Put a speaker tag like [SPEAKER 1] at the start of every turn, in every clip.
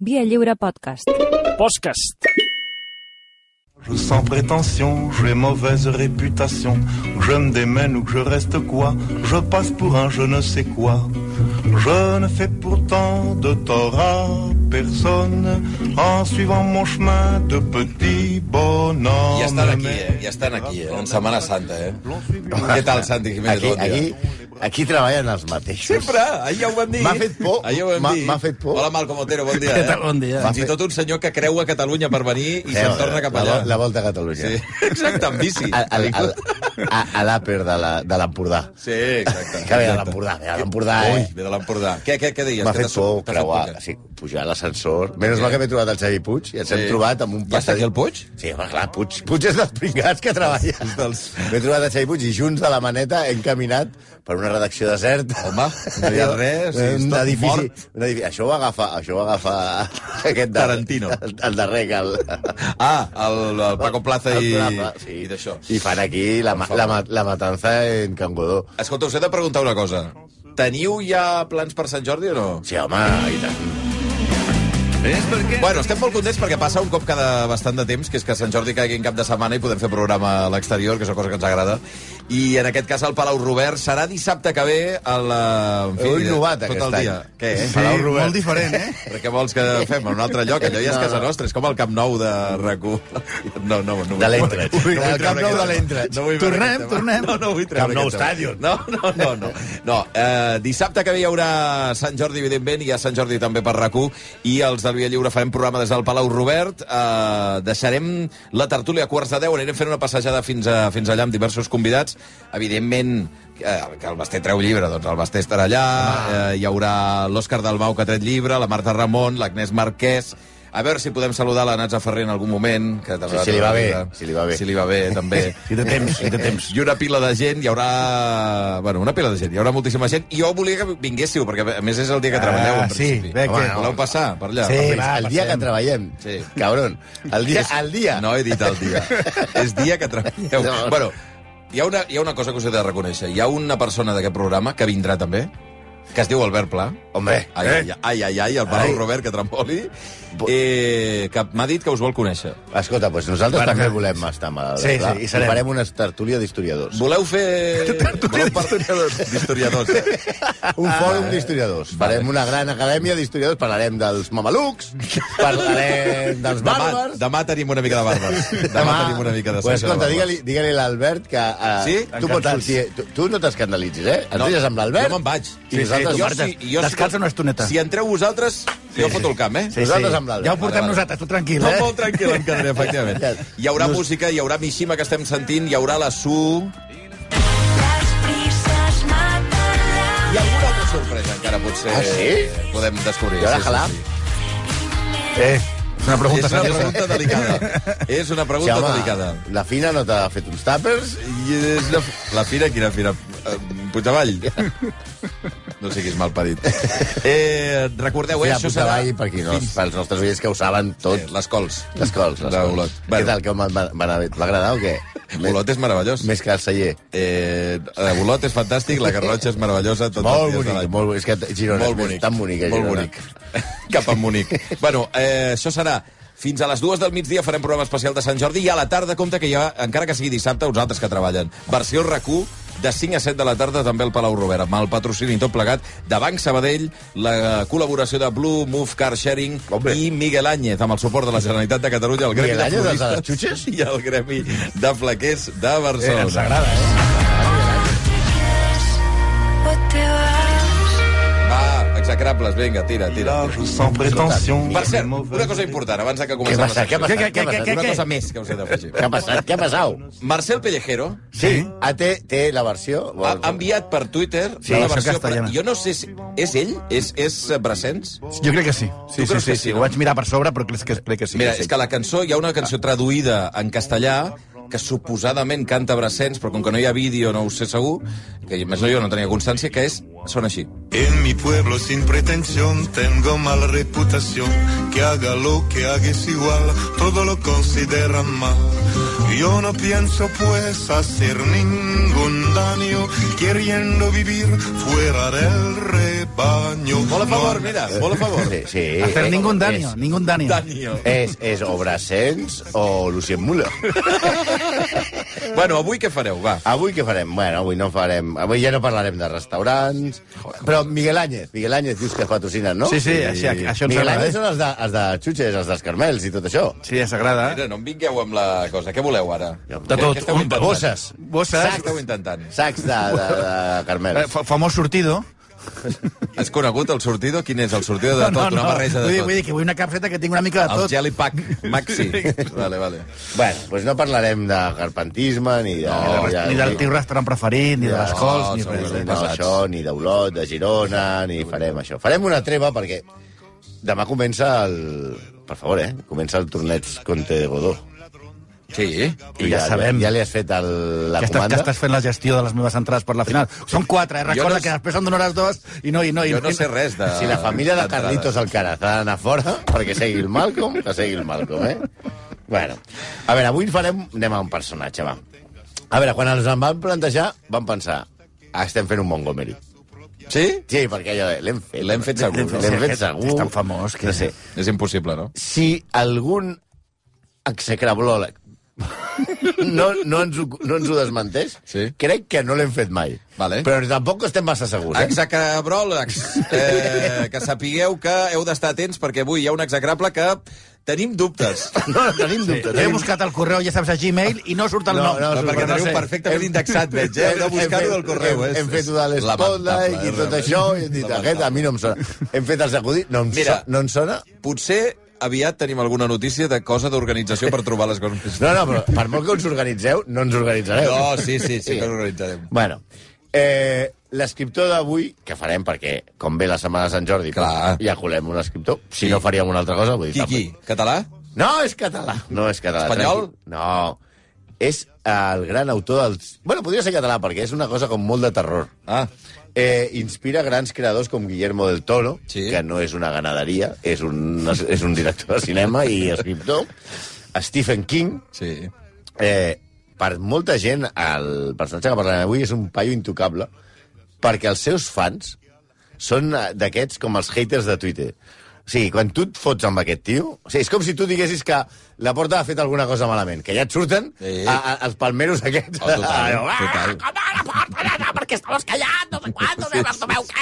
[SPEAKER 1] Via Lliure Podcast.
[SPEAKER 2] Podcast.
[SPEAKER 3] Je sans prétention, j'ai mauvaise réputation. Que Je me démène ou que je reste quoi Je passe pour un je ne sais quoi. Je ne fais pourtant de tort à personne en suivant mon chemin de petit bonhomme.
[SPEAKER 4] Ja estan aquí, eh? Ja estan aquí, eh? En Setmana Santa, eh? Què tal, Santi Jiménez?
[SPEAKER 5] Aquí,
[SPEAKER 4] Bon dia.
[SPEAKER 5] aquí, aquí treballen els mateixos.
[SPEAKER 4] Sempre, ahir ja ho vam dir.
[SPEAKER 5] M'ha fet por.
[SPEAKER 4] Ahir ja ho vam
[SPEAKER 5] M'ha-
[SPEAKER 4] dir.
[SPEAKER 5] m'ha fet por.
[SPEAKER 4] Hola, Malcom Otero, bon dia. eh?
[SPEAKER 6] Què tal? Bon dia.
[SPEAKER 4] Fins
[SPEAKER 5] M'ha
[SPEAKER 4] i tot un senyor que creu a Catalunya per venir i se'n torna cap allà.
[SPEAKER 5] eh, La, la volta a Catalunya.
[SPEAKER 4] Sí,
[SPEAKER 5] Sí.
[SPEAKER 4] exacte, amb bici.
[SPEAKER 5] A, a, a, a, a l'àper de la- de l'Empordà.
[SPEAKER 4] Sí, exacte.
[SPEAKER 5] Que ve de
[SPEAKER 4] exacte.
[SPEAKER 5] l'Empordà, ve de l'Empordà,
[SPEAKER 4] Ui,
[SPEAKER 5] eh?
[SPEAKER 4] ve de l'Empordà. Què, què, què deies?
[SPEAKER 5] M'ha
[SPEAKER 4] Què
[SPEAKER 5] fet
[SPEAKER 4] t'has-
[SPEAKER 5] por
[SPEAKER 4] t'has
[SPEAKER 5] creuar,
[SPEAKER 4] sortit?
[SPEAKER 5] sí, pujar a l'ascensor. Menys mal que m'he trobat el Xavi Puig i ens
[SPEAKER 4] Sí.
[SPEAKER 5] hem trobat amb un
[SPEAKER 4] Ja està aquí el Puig?
[SPEAKER 5] Sí, home, clar, Puig, Puig és dels pringats que treballa.
[SPEAKER 4] És dels-
[SPEAKER 5] M'he trobat el Xavi Puig i junts de la maneta hem caminat per una redacció deserta.
[SPEAKER 4] Home, no hi ha res, és
[SPEAKER 5] Un
[SPEAKER 4] tot
[SPEAKER 5] edifici,
[SPEAKER 4] mort.
[SPEAKER 5] un edifici... Això ho agafa, això ho agafa aquest... de-
[SPEAKER 4] Tarantino.
[SPEAKER 5] El, el darrer que el,
[SPEAKER 4] Ah, el, el Paco Plaza i,
[SPEAKER 5] El Plaza,
[SPEAKER 4] i
[SPEAKER 5] sí.
[SPEAKER 4] d'això.
[SPEAKER 5] I fan aquí la, ma- la, ma- la matanza en Cangodó.
[SPEAKER 4] Escolta, us he de preguntar una cosa. Teniu ja plans per Sant Jordi o no?
[SPEAKER 5] Sí, home, i tant.
[SPEAKER 4] Bueno, estem molt contents perquè passa un cop cada bastant de temps, que és que Sant Jordi caigui en cap de setmana i podem fer programa a l'exterior, que és una cosa que ens agrada. I en aquest cas al Palau Robert serà dissabte que ve a la... en
[SPEAKER 5] Heu innovat
[SPEAKER 4] tot
[SPEAKER 5] aquest
[SPEAKER 4] el
[SPEAKER 5] any.
[SPEAKER 4] dia. Què, eh?
[SPEAKER 5] Sí, Palau Robert.
[SPEAKER 7] molt diferent, eh?
[SPEAKER 4] Però què vols que fem? En un altre lloc? Allò ja és casa nostra, és com el Camp Nou de RAC1. No, no, no. vull-
[SPEAKER 5] De l'Eintracht.
[SPEAKER 4] vull
[SPEAKER 5] Del
[SPEAKER 4] treure
[SPEAKER 5] Camp Nou
[SPEAKER 4] aquest
[SPEAKER 5] de
[SPEAKER 4] tema.
[SPEAKER 5] l'Eintracht.
[SPEAKER 4] vull veure
[SPEAKER 7] Tornem,
[SPEAKER 4] aquest tema.
[SPEAKER 7] tornem.
[SPEAKER 4] No, no vull treure
[SPEAKER 5] Camp Nou
[SPEAKER 4] aquest tema.
[SPEAKER 5] Stadium.
[SPEAKER 4] No, no, no. no. no eh, dissabte que ve hi haurà Sant Jordi, evidentment, i hi ha Sant Jordi també per RAC1, i els del Via Lliure farem programa des del Palau Robert. Eh, deixarem la tertúlia a quarts de deu, anirem fent una passejada fins, a, fins allà amb diversos convidats. Evidentment, eh, que el Basté treu llibre, doncs el Basté estarà allà,
[SPEAKER 5] Ah.
[SPEAKER 4] eh, hi haurà l'Òscar Dalmau que ha tret llibre, la Marta Ramon, l'Agnès Marquès, a veure si podem saludar la Natza Ferrer en algun moment. Que també
[SPEAKER 5] Sí, si li va bé,
[SPEAKER 4] saludar.
[SPEAKER 5] si li va bé.
[SPEAKER 4] Si li va bé, també.
[SPEAKER 7] I de temps, i de temps.
[SPEAKER 4] I una pila de gent, hi haurà... Bueno, una pila de gent, hi haurà moltíssima gent. I jo volia que vinguéssiu, perquè a més és el dia que
[SPEAKER 5] Ah,
[SPEAKER 4] treballeu, en
[SPEAKER 7] sí,
[SPEAKER 4] principi.
[SPEAKER 7] bé que-
[SPEAKER 4] Home, Voleu passar per allà?
[SPEAKER 7] Sí,
[SPEAKER 4] Per-
[SPEAKER 7] va,
[SPEAKER 5] el dia que
[SPEAKER 7] passem.
[SPEAKER 5] treballem, sí.
[SPEAKER 4] Sí.
[SPEAKER 5] cabron. El dia, el dia.
[SPEAKER 4] No he dit el dia. és dia que treballeu.
[SPEAKER 5] No.
[SPEAKER 4] Bueno, hi ha, una, hi ha una cosa que us he de reconèixer. Hi ha una persona d'aquest programa que vindrà també, que es diu Albert Pla.
[SPEAKER 5] Home, Eh?
[SPEAKER 4] Ai, ai, ai, ai, ai, el Palau
[SPEAKER 5] Ai.
[SPEAKER 4] Robert, que tremboli. Eh, que m'ha dit que us vol conèixer.
[SPEAKER 5] escolta, doncs nosaltres
[SPEAKER 7] Para
[SPEAKER 5] també
[SPEAKER 7] que-
[SPEAKER 5] volem estar amb el...
[SPEAKER 7] Sí,
[SPEAKER 5] clar.
[SPEAKER 7] sí, hi serem.
[SPEAKER 5] Farem una tertúlia d'historiadors.
[SPEAKER 4] Voleu fer... Voleu par- d'historiadors.
[SPEAKER 5] Un
[SPEAKER 4] Ah, eh.
[SPEAKER 5] fòrum d'historiadors. Farem una gran acadèmia d'historiadors. Parlarem dels mamelucs, parlarem dels
[SPEAKER 4] Demà,
[SPEAKER 5] bàrbars...
[SPEAKER 4] demà tenim una mica de bàrbars. Demà, tenim una mica de
[SPEAKER 5] Pues
[SPEAKER 4] sessió de
[SPEAKER 5] escolta,
[SPEAKER 4] bàrbars.
[SPEAKER 5] digue-li digue a l'Albert que... Uh,
[SPEAKER 4] Sí?
[SPEAKER 5] Tu pots
[SPEAKER 7] Encantats.
[SPEAKER 5] sortir... eh, Tu, tu no t'escandalitzis, eh? Et
[SPEAKER 4] No,
[SPEAKER 5] deixes amb l'Albert...
[SPEAKER 4] Jo me'n vaig.
[SPEAKER 5] I nosaltres...
[SPEAKER 7] tu
[SPEAKER 4] jo,
[SPEAKER 7] marxes.
[SPEAKER 4] si, jo, si-
[SPEAKER 7] Descansa una estoneta.
[SPEAKER 4] Si entreu vosaltres, jo foto el camp, eh?
[SPEAKER 5] Sí, Nosaltres amb l'Albert.
[SPEAKER 7] Ja ho portem
[SPEAKER 4] Vale, vale.
[SPEAKER 7] nosaltres, tu tranquil,
[SPEAKER 4] No,
[SPEAKER 7] eh?
[SPEAKER 4] molt tranquil em quedaré, efectivament.
[SPEAKER 5] Ja.
[SPEAKER 4] Hi haurà música, hi haurà Mishima que estem sentint, hi haurà la Su... Hi ha alguna altra sorpresa encara, potser
[SPEAKER 5] Ah, sí?
[SPEAKER 4] podem descobrir.
[SPEAKER 5] Hi haurà Halab?
[SPEAKER 7] Eh, és una
[SPEAKER 4] És
[SPEAKER 7] pregunta
[SPEAKER 4] una
[SPEAKER 7] seriosa.
[SPEAKER 4] pregunta delicada. És una
[SPEAKER 5] Sí,
[SPEAKER 4] pregunta delicada.
[SPEAKER 5] home, la fina no t'ha fet uns tàpers?
[SPEAKER 4] I és la, la fira, quina fira? Eh, Puigdevall? No siguis mal parit. Eh, recordeu, eh,
[SPEAKER 5] Fira
[SPEAKER 4] això serà...
[SPEAKER 5] Puigdevall, per qui no,
[SPEAKER 4] fins-
[SPEAKER 5] pels nostres oients que ho saben
[SPEAKER 4] Eh,
[SPEAKER 5] tot.
[SPEAKER 4] les cols.
[SPEAKER 5] Les cols, les
[SPEAKER 4] D'Olot.
[SPEAKER 5] cols. Què
[SPEAKER 4] Bueno.
[SPEAKER 5] tal, com et va, va anar bé? Et va agradar o què? Més,
[SPEAKER 4] Olot és meravellós.
[SPEAKER 5] més que el celler.
[SPEAKER 4] Eh, eh, Olot és fantàstic, la Garrotxa és meravellosa. Tot
[SPEAKER 5] Molt bonic, molt bonic. És que Girona
[SPEAKER 4] molt
[SPEAKER 5] és
[SPEAKER 4] bonic.
[SPEAKER 5] tan bonica,
[SPEAKER 4] molt
[SPEAKER 5] Girona.
[SPEAKER 4] bonic. Cap a Munic. bueno, eh, això serà fins a les dues del migdia farem programa especial de Sant Jordi i a la tarda, compte que hi ha, encara que sigui dissabte, uns altres que treballen. Versió rac de 5 a 7 de la tarda, també al Palau Robert, amb el patrocini tot plegat de Banc Sabadell, la col·laboració de Blue, Move Car Sharing
[SPEAKER 5] Hombre.
[SPEAKER 4] i Miguel Áñez, amb el suport de la Generalitat de Catalunya, el Gremi
[SPEAKER 5] Miguel Áñez,
[SPEAKER 4] de
[SPEAKER 5] dels de les
[SPEAKER 4] Floristes i el Gremi de Flaquers de
[SPEAKER 7] Eh,
[SPEAKER 4] Barcelona.
[SPEAKER 7] ens agrada, eh?
[SPEAKER 4] Va, execrables, vinga, tira, tira.
[SPEAKER 3] Là, je sans prétention.
[SPEAKER 4] Per
[SPEAKER 3] j'ai
[SPEAKER 4] cert,
[SPEAKER 3] mauvaise
[SPEAKER 4] una cosa important, abans de que
[SPEAKER 5] Què
[SPEAKER 4] comencem...
[SPEAKER 5] ha passat? Què ha
[SPEAKER 7] Què,
[SPEAKER 5] passat?
[SPEAKER 7] què, què, què, què?
[SPEAKER 4] Una cosa més que us he d'afegir.
[SPEAKER 5] Què ha passat? Què ha passat?
[SPEAKER 4] Marcel Pellejero
[SPEAKER 5] Sí. Ah, té, té la versió?
[SPEAKER 4] Ah, ha, ha enviat per Twitter
[SPEAKER 7] Sí,
[SPEAKER 4] una
[SPEAKER 7] això
[SPEAKER 4] versió...
[SPEAKER 7] castellana.
[SPEAKER 4] jo no sé si... És ell? És, és eh, Brassens?
[SPEAKER 7] Jo crec que sí.
[SPEAKER 4] Tu
[SPEAKER 7] Sí, sí,
[SPEAKER 4] creus que
[SPEAKER 7] sí,
[SPEAKER 4] sí,
[SPEAKER 7] sí.
[SPEAKER 4] no?
[SPEAKER 7] Ho vaig mirar per sobre, però crec que, crec que sí.
[SPEAKER 4] Mira,
[SPEAKER 7] que
[SPEAKER 4] és
[SPEAKER 7] sí.
[SPEAKER 4] que la cançó... Hi ha una cançó traduïda en castellà que suposadament canta Brassens, però com que no hi ha vídeo, no ho sé segur, que a més no, jo no tenia constància, que és... Sona així.
[SPEAKER 3] En mi pueblo sin pretensión tengo mala reputación. Que haga lo que haga es igual, todo lo consideran mal. Yo no pienso pues hacer ningún daño queriendo vivir fuera del rebaño.
[SPEAKER 4] Molt a favor,
[SPEAKER 3] No-
[SPEAKER 4] mira, molt a favor.
[SPEAKER 5] Sí, sí.
[SPEAKER 7] Hacer
[SPEAKER 5] Eh,
[SPEAKER 7] ningún
[SPEAKER 5] és-
[SPEAKER 7] daño, ningún daño.
[SPEAKER 4] Daniel.
[SPEAKER 5] És, és Obrasens o Lucien Müller.
[SPEAKER 4] Bueno, avui què fareu, va?
[SPEAKER 5] Avui què farem? Bueno, avui no farem... Avui ja no parlarem de restaurants... Però Miguel Áñez, Miguel Áñez dius que es patrocina, no?
[SPEAKER 7] Sí, sí, així- això ens
[SPEAKER 5] Miguel
[SPEAKER 7] agrada,
[SPEAKER 5] Áñez
[SPEAKER 7] eh?
[SPEAKER 5] són els de, els de xutxes, els dels carmels i tot això.
[SPEAKER 7] Sí, ja s'agrada.
[SPEAKER 4] Mira, no em vingueu amb la cosa. Què voleu, ara?
[SPEAKER 7] De tot,
[SPEAKER 4] Què esteu
[SPEAKER 7] un-
[SPEAKER 4] intentant?
[SPEAKER 5] Bosses.
[SPEAKER 7] Bosses.
[SPEAKER 4] Què esteu intentant?
[SPEAKER 5] Sacs de, de, de
[SPEAKER 7] Eh,
[SPEAKER 5] carmels.
[SPEAKER 7] fa- Famós sortido.
[SPEAKER 4] Has conegut el sortido? Quin és el sortido de tot? Una barreja
[SPEAKER 7] Vull
[SPEAKER 4] de
[SPEAKER 7] dir,
[SPEAKER 4] tot.
[SPEAKER 7] vull dir que vull una capseta que tingui una mica de
[SPEAKER 4] El
[SPEAKER 7] tot.
[SPEAKER 4] Jelly Pack Maxi. Vale, vale.
[SPEAKER 5] Bueno, doncs no parlarem de carpentisme, ni de...
[SPEAKER 7] Ni
[SPEAKER 5] de-
[SPEAKER 7] del- Ni del teu restaurant preferit, ni de les cols, ni
[SPEAKER 4] segur.
[SPEAKER 7] res. eh.
[SPEAKER 5] No,
[SPEAKER 4] Res,
[SPEAKER 5] no,
[SPEAKER 4] passats.
[SPEAKER 5] això, ni d'Olot, de Girona, ni farem això. Farem una treva perquè demà comença el... Per favor, eh? Comença el torneig Conte de Godó.
[SPEAKER 4] Sí?
[SPEAKER 5] Tu
[SPEAKER 7] ja sabem.
[SPEAKER 5] Ja, ja li has fet el, la
[SPEAKER 7] Que estàs, que
[SPEAKER 5] comanda.
[SPEAKER 7] estàs fent la gestió de les meves entrades per la final. Són quatre, eh? Recorda
[SPEAKER 4] no sé-
[SPEAKER 7] que després em donaràs dues i no, i no, i
[SPEAKER 4] Jo no
[SPEAKER 7] i
[SPEAKER 4] sé res de...
[SPEAKER 5] Si la família de
[SPEAKER 4] d'entrades.
[SPEAKER 5] Carlitos Alcaraz ha d'anar fora perquè segui el Malcolm, que segui el Malcolm, eh? Bueno, a veure, avui farem... Anem a un personatge, va. A veure, quan ens en van plantejar, van pensar "Ah, estem fent un Montgomery.
[SPEAKER 4] Sí?
[SPEAKER 5] Sí, perquè allò de, l'hem fet.
[SPEAKER 4] L'hem fet segur, no?
[SPEAKER 5] L'hem fet
[SPEAKER 7] Aquest
[SPEAKER 5] segur.
[SPEAKER 7] és tan famós que-
[SPEAKER 5] No sé.
[SPEAKER 4] És impossible, no?
[SPEAKER 5] si algun execrablòleg no, no, ens ho, no ens ho desmenteix,
[SPEAKER 4] Sí.
[SPEAKER 5] crec que no l'hem fet mai.
[SPEAKER 4] Vale.
[SPEAKER 5] Però tampoc estem massa segurs. Eh?
[SPEAKER 4] Exacabròlegs, eh, que sapigueu que heu d'estar atents perquè avui hi ha un exacrable que tenim dubtes.
[SPEAKER 5] No, no tenim dubtes.
[SPEAKER 7] He
[SPEAKER 5] Tenim-
[SPEAKER 7] buscat el correu, ja saps, a Gmail, i no surt el
[SPEAKER 5] No,
[SPEAKER 7] nom.
[SPEAKER 5] no,
[SPEAKER 4] No,
[SPEAKER 5] surt
[SPEAKER 4] perquè
[SPEAKER 5] no
[SPEAKER 4] teniu
[SPEAKER 5] sé.
[SPEAKER 4] perfectament indexat, veig, eh? Heu de buscar-ho del correu.
[SPEAKER 5] Hem,
[SPEAKER 4] és-
[SPEAKER 5] hem fet una de
[SPEAKER 4] és lamentable, eh?
[SPEAKER 5] l'espotlight i
[SPEAKER 4] és
[SPEAKER 5] tot
[SPEAKER 4] realment.
[SPEAKER 5] això, i hem dit, aquest a mi no em sona. Hem fet els acudits, no em,
[SPEAKER 4] Mira.
[SPEAKER 5] so, no em sona.
[SPEAKER 4] Potser aviat tenim alguna notícia de cosa d'organització per trobar les coses.
[SPEAKER 5] No, no, però per molt que ens organitzeu, no ens organitzareu.
[SPEAKER 4] No, sí, sí, sí que organitzarem.
[SPEAKER 5] Bueno, eh, l'escriptor d'avui, que farem perquè, com ve la setmana de Sant Jordi, doncs,
[SPEAKER 4] Clar.
[SPEAKER 5] ja colem un escriptor, si
[SPEAKER 4] Sí.
[SPEAKER 5] no faríem una altra cosa, vull dir...
[SPEAKER 4] Qui, qui? Català?
[SPEAKER 5] tampoc. No, és català. No és català.
[SPEAKER 4] Espanyol?
[SPEAKER 5] tranquil. No, és el gran autor dels... Bueno, podria ser català, perquè és una cosa com molt de terror.
[SPEAKER 4] Ah,
[SPEAKER 5] Eh, inspira grans creadors com Guillermo del Toro,
[SPEAKER 4] Sí.
[SPEAKER 5] que no és una ganaderia, és un, és un director de cinema i escriptor. Stephen King,
[SPEAKER 4] sí.
[SPEAKER 5] eh, per molta gent, el personatge que parlarem avui és un paio intocable, perquè els seus fans són eh, d'aquests com els haters de Twitter. O sigui, quan tu et fots amb aquest tio... O sigui, és com si tu diguessis que la porta ha fet alguna cosa malament, que ja et surten
[SPEAKER 4] Sí.
[SPEAKER 5] a, a, els palmeros aquests.
[SPEAKER 4] Oh, total,
[SPEAKER 5] Ah,
[SPEAKER 4] total.
[SPEAKER 5] com a la porta, no, no, perquè estàs callat, no sé quan, no sé, no sabeu què...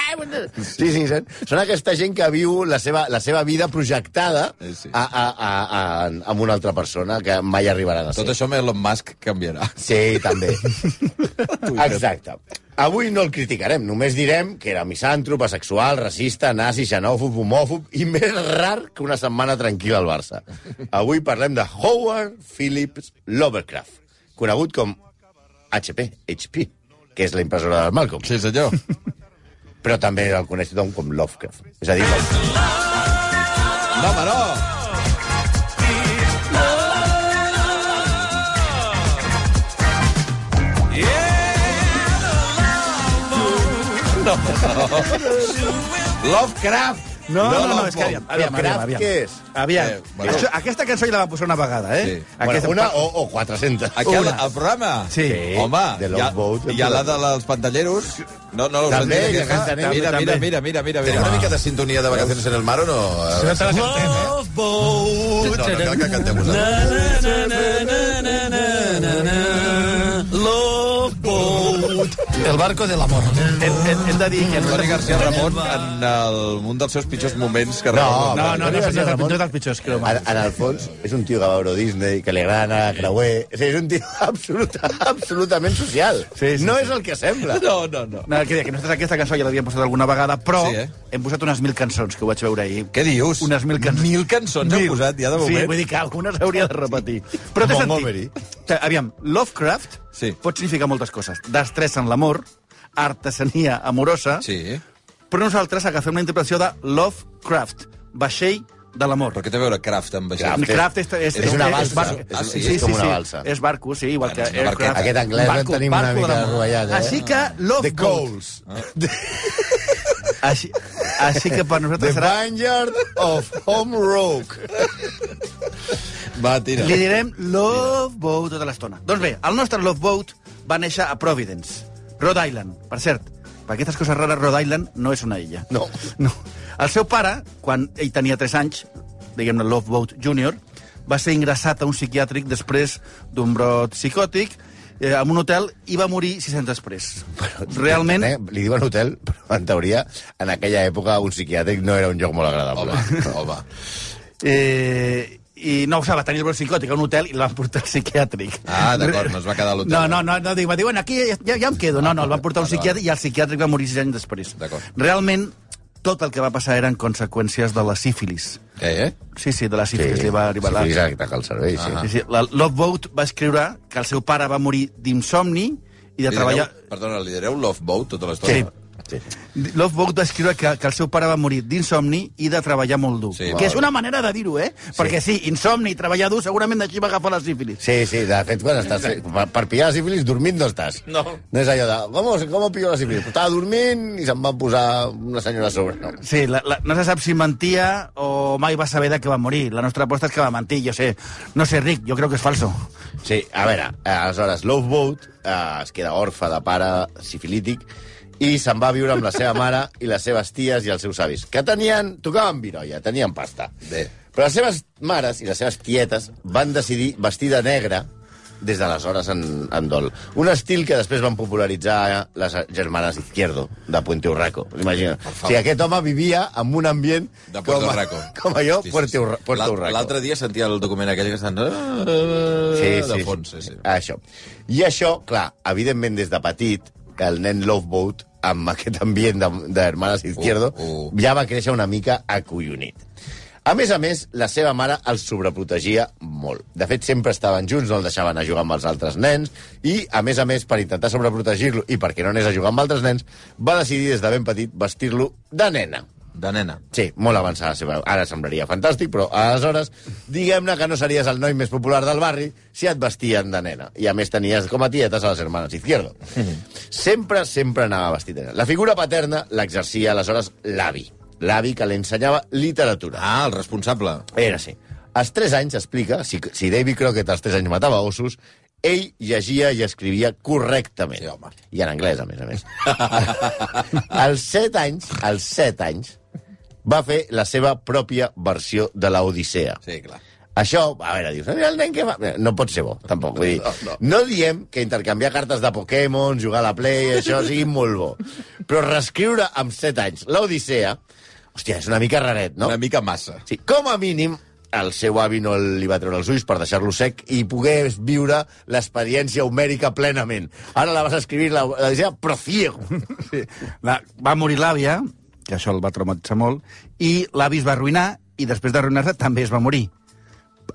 [SPEAKER 5] Sí, sí, són, són aquesta gent que viu la seva, la seva vida projectada
[SPEAKER 4] Sí, sí.
[SPEAKER 5] a, a, a, a, a, amb una altra persona que mai arribaran a ser.
[SPEAKER 4] Tot això amb Elon Musk canviarà.
[SPEAKER 5] Sí, també. Exacte. Avui no el criticarem, només direm que era misàntrop, asexual, racista, nazi, xenòfob, homòfob i més rar que una setmana tranquil·la al Barça. Avui parlem de Howard Phillips Lovecraft, conegut com HP, HP, que és la impressora del Malcolm,
[SPEAKER 4] Sí, senyor.
[SPEAKER 5] però també el coneix tothom com Lovecraft. És a dir, com...
[SPEAKER 4] No, home, no! No. Lovecraft!
[SPEAKER 7] No, no, no,
[SPEAKER 4] Lovecraft.
[SPEAKER 7] és que aviam, aviam, aviam,
[SPEAKER 5] Lovecraft,
[SPEAKER 7] aviam.
[SPEAKER 5] què és?
[SPEAKER 7] Aviam,
[SPEAKER 4] Eh, bueno.
[SPEAKER 7] Això, aquesta cançó ja la va posar una vegada, eh?
[SPEAKER 4] Sí.
[SPEAKER 5] Bueno,
[SPEAKER 7] Aquesta,
[SPEAKER 5] una o, o 400.
[SPEAKER 4] Aquí al,
[SPEAKER 7] Una.
[SPEAKER 4] al programa?
[SPEAKER 7] Sí.
[SPEAKER 4] Home,
[SPEAKER 5] The
[SPEAKER 4] hi ha,
[SPEAKER 5] Love Boat,
[SPEAKER 4] hi ha la de- dels pantalleros. No, no, us
[SPEAKER 5] També,
[SPEAKER 4] sentiu
[SPEAKER 5] que
[SPEAKER 4] aquesta?
[SPEAKER 5] canten ells.
[SPEAKER 4] mira, mira,
[SPEAKER 7] També.
[SPEAKER 4] mira, mira, mira, mira. Una mica de sintonia de vacaciones en el mar o no?
[SPEAKER 7] Si no te la sentem, eh?
[SPEAKER 4] No, no cal que cantem vosaltres.
[SPEAKER 7] El barco de l'amor. Hem, hem, hem de dir que...
[SPEAKER 4] Toni García Ramon en el, un dels seus pitjors moments que
[SPEAKER 5] No,
[SPEAKER 4] recordo.
[SPEAKER 7] No, no, no,
[SPEAKER 5] Toni
[SPEAKER 7] no,
[SPEAKER 5] García
[SPEAKER 7] no,
[SPEAKER 5] Ramon.
[SPEAKER 7] no, dels pitjors, creo.
[SPEAKER 5] En, en el fons, és un tio que va a Euro Disney, que li agrada anar a creuer... O sigui, és un tio absolut, absolutament social.
[SPEAKER 7] Sí, sí,
[SPEAKER 5] no
[SPEAKER 7] sí.
[SPEAKER 5] és el que sembla.
[SPEAKER 4] No, no, no.
[SPEAKER 7] No, que, deia que nosaltres aquesta cançó ja l'havíem posat alguna vegada, però
[SPEAKER 4] Sí, eh?
[SPEAKER 7] hem posat unes mil cançons, que ho vaig veure ahir.
[SPEAKER 4] Què dius?
[SPEAKER 7] Unes mil cançons.
[SPEAKER 4] Mil cançons heu posat ja, de
[SPEAKER 7] Sí,
[SPEAKER 4] moment?
[SPEAKER 7] vull dir que algunes hauria de repetir. Però té
[SPEAKER 5] Montgomery.
[SPEAKER 7] sentit. Te- Aviam, Lovecraft
[SPEAKER 4] Sí.
[SPEAKER 7] pot significar moltes coses. Destressa en l'amor, artesania amorosa,
[SPEAKER 4] Sí.
[SPEAKER 7] però nosaltres agafem una interpretació de Lovecraft, vaixell de l'amor.
[SPEAKER 4] Però què té a veure Kraft amb això?
[SPEAKER 5] Kraft.
[SPEAKER 7] Craft és, és,
[SPEAKER 5] És una balsa.
[SPEAKER 7] barco. Ah,
[SPEAKER 5] És-
[SPEAKER 4] és
[SPEAKER 5] com una balsa.
[SPEAKER 7] És barco, sí, igual
[SPEAKER 4] Bueno,
[SPEAKER 7] que
[SPEAKER 4] és una barqueta.
[SPEAKER 7] Aircraft.
[SPEAKER 5] Aquest anglès el
[SPEAKER 7] Barco,
[SPEAKER 5] tenim una
[SPEAKER 7] barco
[SPEAKER 5] mica
[SPEAKER 7] de l'amor.
[SPEAKER 5] rovellat, eh?
[SPEAKER 7] Així que Love
[SPEAKER 5] The
[SPEAKER 7] Boat. Ah.
[SPEAKER 5] Coles.
[SPEAKER 7] Així, així que per
[SPEAKER 5] The
[SPEAKER 7] nosaltres serà...
[SPEAKER 5] Vineyard of Home Rock.
[SPEAKER 4] Va, tira.
[SPEAKER 7] Li direm Love Boat tota l'estona. Doncs bé, el nostre Love Boat va néixer a Providence, Rhode Island. Per cert, per aquestes coses rares, Rhode Island no és una illa.
[SPEAKER 5] No.
[SPEAKER 7] No. El seu pare, quan ell tenia 3 anys, diguem-ne Love Boat Junior, va ser ingressat a un psiquiàtric després d'un brot psicòtic eh, en un hotel i va morir 6 anys després. Realment...
[SPEAKER 5] Eh? Li diuen hotel, però en teoria, en aquella època, un psiquiàtric no era un lloc molt agradable.
[SPEAKER 4] Home, home.
[SPEAKER 7] Eh, i no ho sap, va tenir el brot psicòtic a un hotel i el van portar al psiquiàtric.
[SPEAKER 4] Ah, d'acord, no es va quedar a l'hotel.
[SPEAKER 7] No, no, no, no, dic, va dir, bueno, aquí ja, ja em quedo. No, no, el van portar a un psiquiàtric i el psiquiàtric va morir sis anys després.
[SPEAKER 4] D'acord.
[SPEAKER 7] Realment, tot el que va passar eren conseqüències de la sífilis.
[SPEAKER 4] Eh, eh?
[SPEAKER 7] Sí, sí, de la sífilis sí, li va arribar Ah. la...
[SPEAKER 5] Sí, ah. li va el cervell, sí.
[SPEAKER 7] Sí, sí, la Love Boat va escriure que el seu pare va morir d'insomni i de
[SPEAKER 4] Lidereu-
[SPEAKER 7] treballar...
[SPEAKER 4] Perdona, lidereu Love Boat tota
[SPEAKER 7] Sí.
[SPEAKER 4] l'estona?
[SPEAKER 7] Love Boat va escriure que, que el seu pare va morir d'insomni i de treballar molt dur.
[SPEAKER 4] Sí,
[SPEAKER 7] que
[SPEAKER 4] val.
[SPEAKER 7] és una manera de dir-ho, eh? Perquè sí, insomni i treballar dur, segurament d'així va agafar la sífilis.
[SPEAKER 5] Sí, sí, de fet, quan estàs... Per, per pillar la sífilis, dormint no estàs.
[SPEAKER 4] No.
[SPEAKER 5] No és allò de... Com, com pillo la sífilis? Estava dormint i se'm va posar una senyora a sobre. No.
[SPEAKER 7] Sí, la, la, no se sap si mentia o mai va saber de què va morir. La nostra aposta és que va mentir, jo sé. No sé, Rick, jo crec que és falso.
[SPEAKER 5] Sí, a veure, eh, aleshores, Love Boat eh, es queda orfe de pare sifilític i se'n va a viure amb la seva mare i les seves ties i els seus avis, que tenien... tocaven virolla, tenien pasta.
[SPEAKER 4] Bé.
[SPEAKER 5] Però les seves mares i les seves tietes van decidir vestir de negre des d'aleshores en, en dol. Un estil que després van popularitzar eh, les germanes Izquierdo, de Puente Urraco. Imagina. O sigui, aquest home vivia en un ambient...
[SPEAKER 4] De Puerto
[SPEAKER 5] com,
[SPEAKER 4] Rico.
[SPEAKER 5] Com jo,
[SPEAKER 4] Sí, sí, sí.
[SPEAKER 5] Puerto, Urra- Puerto
[SPEAKER 4] L'al-
[SPEAKER 5] Urraco
[SPEAKER 4] L'altre dia sentia el document aquell que estan... eh,
[SPEAKER 5] sí,
[SPEAKER 4] de
[SPEAKER 5] sí,
[SPEAKER 4] fons, sí,
[SPEAKER 5] sí,
[SPEAKER 4] sí.
[SPEAKER 5] Això. I això, clar, evidentment, des de petit, el nen Loveboat, amb aquest ambient de- d'Hermanas Izquierdo,
[SPEAKER 4] Uh, uh.
[SPEAKER 5] ja va créixer una mica acollonit. A més a més, la seva mare el sobreprotegia molt. De fet, sempre estaven junts, no el deixaven a jugar amb els altres nens, i, a més a més, per intentar sobreprotegir-lo i perquè no anés a jugar amb altres nens, va decidir des de ben petit vestir-lo de nena.
[SPEAKER 4] De nena.
[SPEAKER 5] Sí, molt avançada la seva... Ara semblaria fantàstic, però aleshores diguem-ne que no series el noi més popular del barri si et vestien de nena. I a més tenies com a tietes a les hermanes Izquierdo. Sempre, sempre anava vestit de nena. La figura paterna l'exercia aleshores l'avi. L'avi que li ensenyava literatura.
[SPEAKER 4] Ah, el responsable.
[SPEAKER 5] Era així. Als 3 anys, explica, si, si David Crockett als 3 anys matava ossos, ell llegia i escrivia correctament.
[SPEAKER 4] Sí, home.
[SPEAKER 5] I en anglès, a més a més. als 7 anys, als 7 anys, va fer la seva pròpia versió de l'Odissea.
[SPEAKER 4] Sí, clar.
[SPEAKER 5] Això, a veure, dius, mira el nen que va... No pot ser bo, tampoc. Vull dir, no, diem que intercanviar cartes de Pokémon, jugar a la Play, això sigui molt bo. Però reescriure amb 7 anys l'Odissea, hòstia, és una mica raret, no?
[SPEAKER 4] Una mica massa.
[SPEAKER 5] Sí, com a mínim, el seu avi no li va treure els ulls per deixar-lo sec i pogués viure l'experiència homèrica plenament. Ara la vas escriure, la, la deia Profiego.
[SPEAKER 7] Sí. La, va morir l'àvia, que això el va traumatitzar molt, i l'avi es va arruïnar, i després d'arruïnar-se també es va morir.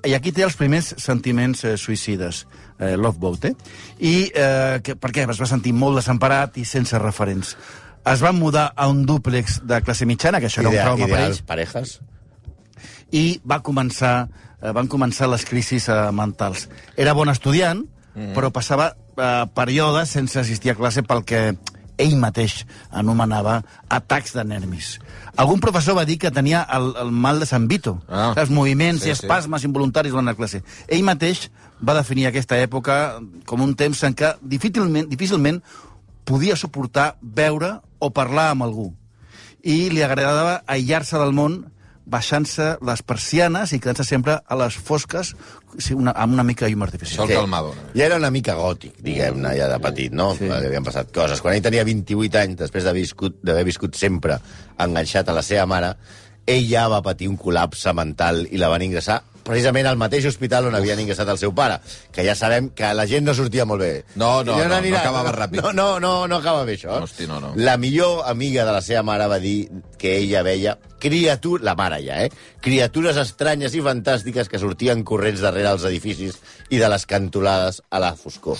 [SPEAKER 7] I aquí té els primers sentiments eh, suïcides, eh, Love Boat, eh? I eh, que, per què? Es va sentir molt desemparat i sense referents. Es va mudar a un dúplex de classe mitjana, que això era un trauma per ells,
[SPEAKER 5] parejas.
[SPEAKER 7] i va començar, eh, van començar les crisis eh, mentals. Era bon estudiant, mm. però passava eh, períodes sense assistir a classe pel que ell mateix anomenava atacs de nervis. Algun professor va dir que tenia el, el mal de Sant Vito,
[SPEAKER 4] Ah.
[SPEAKER 7] ah. els moviments
[SPEAKER 4] Sí,
[SPEAKER 7] sí, i
[SPEAKER 4] sí.
[SPEAKER 7] espasmes sí. involuntaris durant la classe. Ell mateix va definir aquesta època com un temps en què difícilment, difícilment podia suportar veure o parlar amb algú. I li agradava aïllar-se del món baixant-se les persianes i quedant-se sempre a les fosques sí, una, amb una mica de llum
[SPEAKER 4] Sol
[SPEAKER 7] artificial.
[SPEAKER 4] sí. calmado. una mica.
[SPEAKER 5] Ja era una mica gòtic, diguem-ne, ja de petit, no? Sí. Li havien passat coses. Quan ell tenia 28 anys, després d'haver viscut, d'haver viscut sempre enganxat a la seva mare, ell ja va patir un col·lapse mental i la van ingressar precisament al mateix hospital on havien ingressat el seu pare, que ja sabem que la gent no sortia molt bé.
[SPEAKER 4] No, no,
[SPEAKER 5] I
[SPEAKER 4] no, no
[SPEAKER 5] anirà-
[SPEAKER 4] acabava ràpid.
[SPEAKER 5] No, no, no, no acaba bé, això.
[SPEAKER 4] Hosti, no, no.
[SPEAKER 5] La millor amiga de la seva mare va dir que ella veia criatura... La mare ja, eh? Criatures estranyes i fantàstiques que sortien corrents darrere els edificis i de les cantolades a la foscor.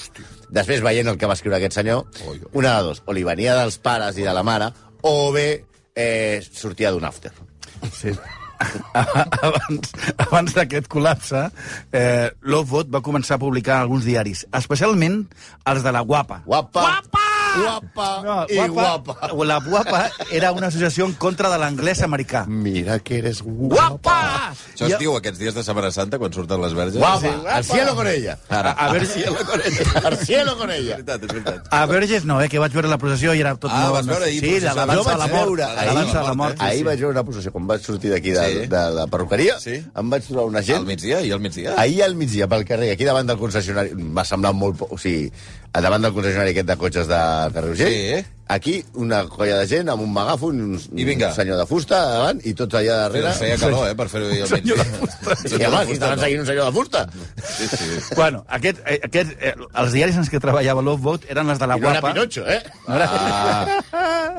[SPEAKER 5] Després, veient el que va escriure aquest senyor,
[SPEAKER 4] Oi, oi.
[SPEAKER 5] una de dos. O li venia dels pares i de la mare, o bé eh, sortia d'un after.
[SPEAKER 7] Sí. abans abans d'aquest col·lapse, eh, Lovebot va començar a publicar alguns diaris, especialment els de la Guapa.
[SPEAKER 5] Guapa! Guapa! Guapa i guapa.
[SPEAKER 7] La Guapa era una associació en contra de l'anglès americà.
[SPEAKER 5] Mira que eres guapa.
[SPEAKER 7] Guapa!
[SPEAKER 4] Això es diu aquests dies de Setmana Santa, quan surten les verges.
[SPEAKER 5] Guapa, al cielo con ella.
[SPEAKER 4] Ara.
[SPEAKER 7] A, a, ver,
[SPEAKER 5] Al cielo con
[SPEAKER 4] És
[SPEAKER 5] ella.
[SPEAKER 4] veritat, és veritat.
[SPEAKER 7] a Verges no, eh, que vaig veure la processió i era tot
[SPEAKER 4] Ah,
[SPEAKER 7] molt...
[SPEAKER 4] vas veure ahir
[SPEAKER 7] Sí,
[SPEAKER 4] processar.
[SPEAKER 7] l'alabança
[SPEAKER 4] Jo
[SPEAKER 7] a la
[SPEAKER 4] vaig
[SPEAKER 7] mort.
[SPEAKER 4] veure
[SPEAKER 7] L'alabança a la mort.
[SPEAKER 4] ahir.
[SPEAKER 5] Ahir vaig veure una processió, quan vaig sortir d'aquí de,
[SPEAKER 4] Sí.
[SPEAKER 5] de la perruqueria,
[SPEAKER 4] Sí.
[SPEAKER 5] em vaig trobar una gent...
[SPEAKER 4] Al migdia, i al migdia.
[SPEAKER 5] Ahir al migdia, pel carrer, aquí davant del concessionari, m'ha semblat molt... po- O sigui, davant del concessionari aquest de cotxes de carrer Urgell,
[SPEAKER 4] Sí.
[SPEAKER 5] aquí una colla de gent amb un megàfon, un,
[SPEAKER 4] I vinga.
[SPEAKER 5] un senyor de fusta davant, i tots allà darrere...
[SPEAKER 4] Feia calor, eh, per fer-ho ahir al migdia.
[SPEAKER 5] Sí, home, aquí estaven seguint un senyor de fusta.
[SPEAKER 4] Sí, sí.
[SPEAKER 7] Bueno, aquest, eh, aquest, eh, els diaris en els que treballava Lovebot eren les de la
[SPEAKER 5] I no era
[SPEAKER 7] guapa.
[SPEAKER 5] Pinocho, eh?
[SPEAKER 7] No era,
[SPEAKER 4] Ah,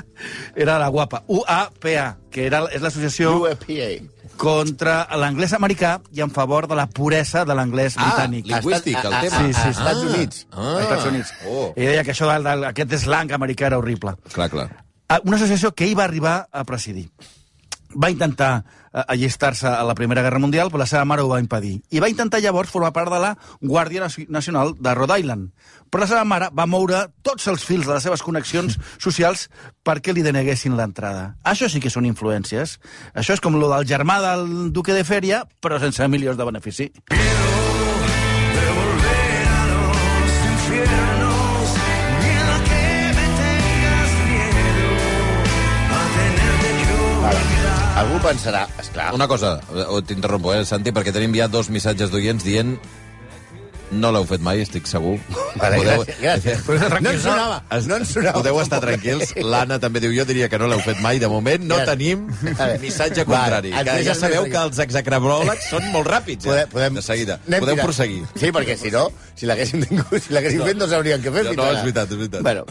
[SPEAKER 7] era la guapa. UAPA, que era, és l'associació
[SPEAKER 5] UAPA.
[SPEAKER 7] contra l'anglès americà i en favor de la puresa de l'anglès
[SPEAKER 4] Ah,
[SPEAKER 7] britànic.
[SPEAKER 4] li- Lingüístic, el tema.
[SPEAKER 7] Sí, sí,
[SPEAKER 5] Estats
[SPEAKER 4] Ah.
[SPEAKER 5] Units.
[SPEAKER 4] Ah.
[SPEAKER 7] als Estats Units.
[SPEAKER 4] Oh.
[SPEAKER 7] I deia que això del- del- aquest slang americà era horrible.
[SPEAKER 4] clar, clar.
[SPEAKER 7] Ah, Una associació que ell va arribar a presidir. Va intentar eh, allistar-se a la Primera Guerra Mundial, però la seva mare ho va impedir. I va intentar llavors formar part de la Guàrdia Naci- Nacional de Rhode Island. Però la seva mare va moure tots els fils de les seves connexions socials perquè li deneguessin l'entrada. Això sí que són influències. Això és com lo del germà del duque de Fèria, però sense milions de benefici.
[SPEAKER 5] Algú pensarà, esclar,
[SPEAKER 4] Una cosa, eh, t'interrompo, eh, Santi, perquè tenim ja dos missatges d'oients dient no l'heu fet mai, estic segur.
[SPEAKER 5] Vale,
[SPEAKER 4] Podeu-
[SPEAKER 5] gràcies, gràcies. No em sonava, no em sonava.
[SPEAKER 4] Podeu estar tranquils. L'Anna també diu, jo diria que no l'heu fet mai. De moment no
[SPEAKER 5] Gràcies.
[SPEAKER 4] tenim
[SPEAKER 5] Vale.
[SPEAKER 4] missatge
[SPEAKER 5] Vale,
[SPEAKER 4] contrari.
[SPEAKER 5] et
[SPEAKER 4] Que ja
[SPEAKER 5] deixes
[SPEAKER 4] sabeu
[SPEAKER 5] més
[SPEAKER 4] que els execrabròlegs són molt ràpids, eh?
[SPEAKER 5] Podem, podem,
[SPEAKER 4] De seguida.
[SPEAKER 5] anem
[SPEAKER 4] Podeu
[SPEAKER 5] tirant.
[SPEAKER 4] proseguir.
[SPEAKER 5] Sí, perquè si no, si l'haguéssim tingut, si l'haguéssim fet, no sabríem què fer.
[SPEAKER 4] No,
[SPEAKER 5] fins
[SPEAKER 4] no,
[SPEAKER 5] ara.
[SPEAKER 4] és veritat, és veritat.
[SPEAKER 5] Bueno,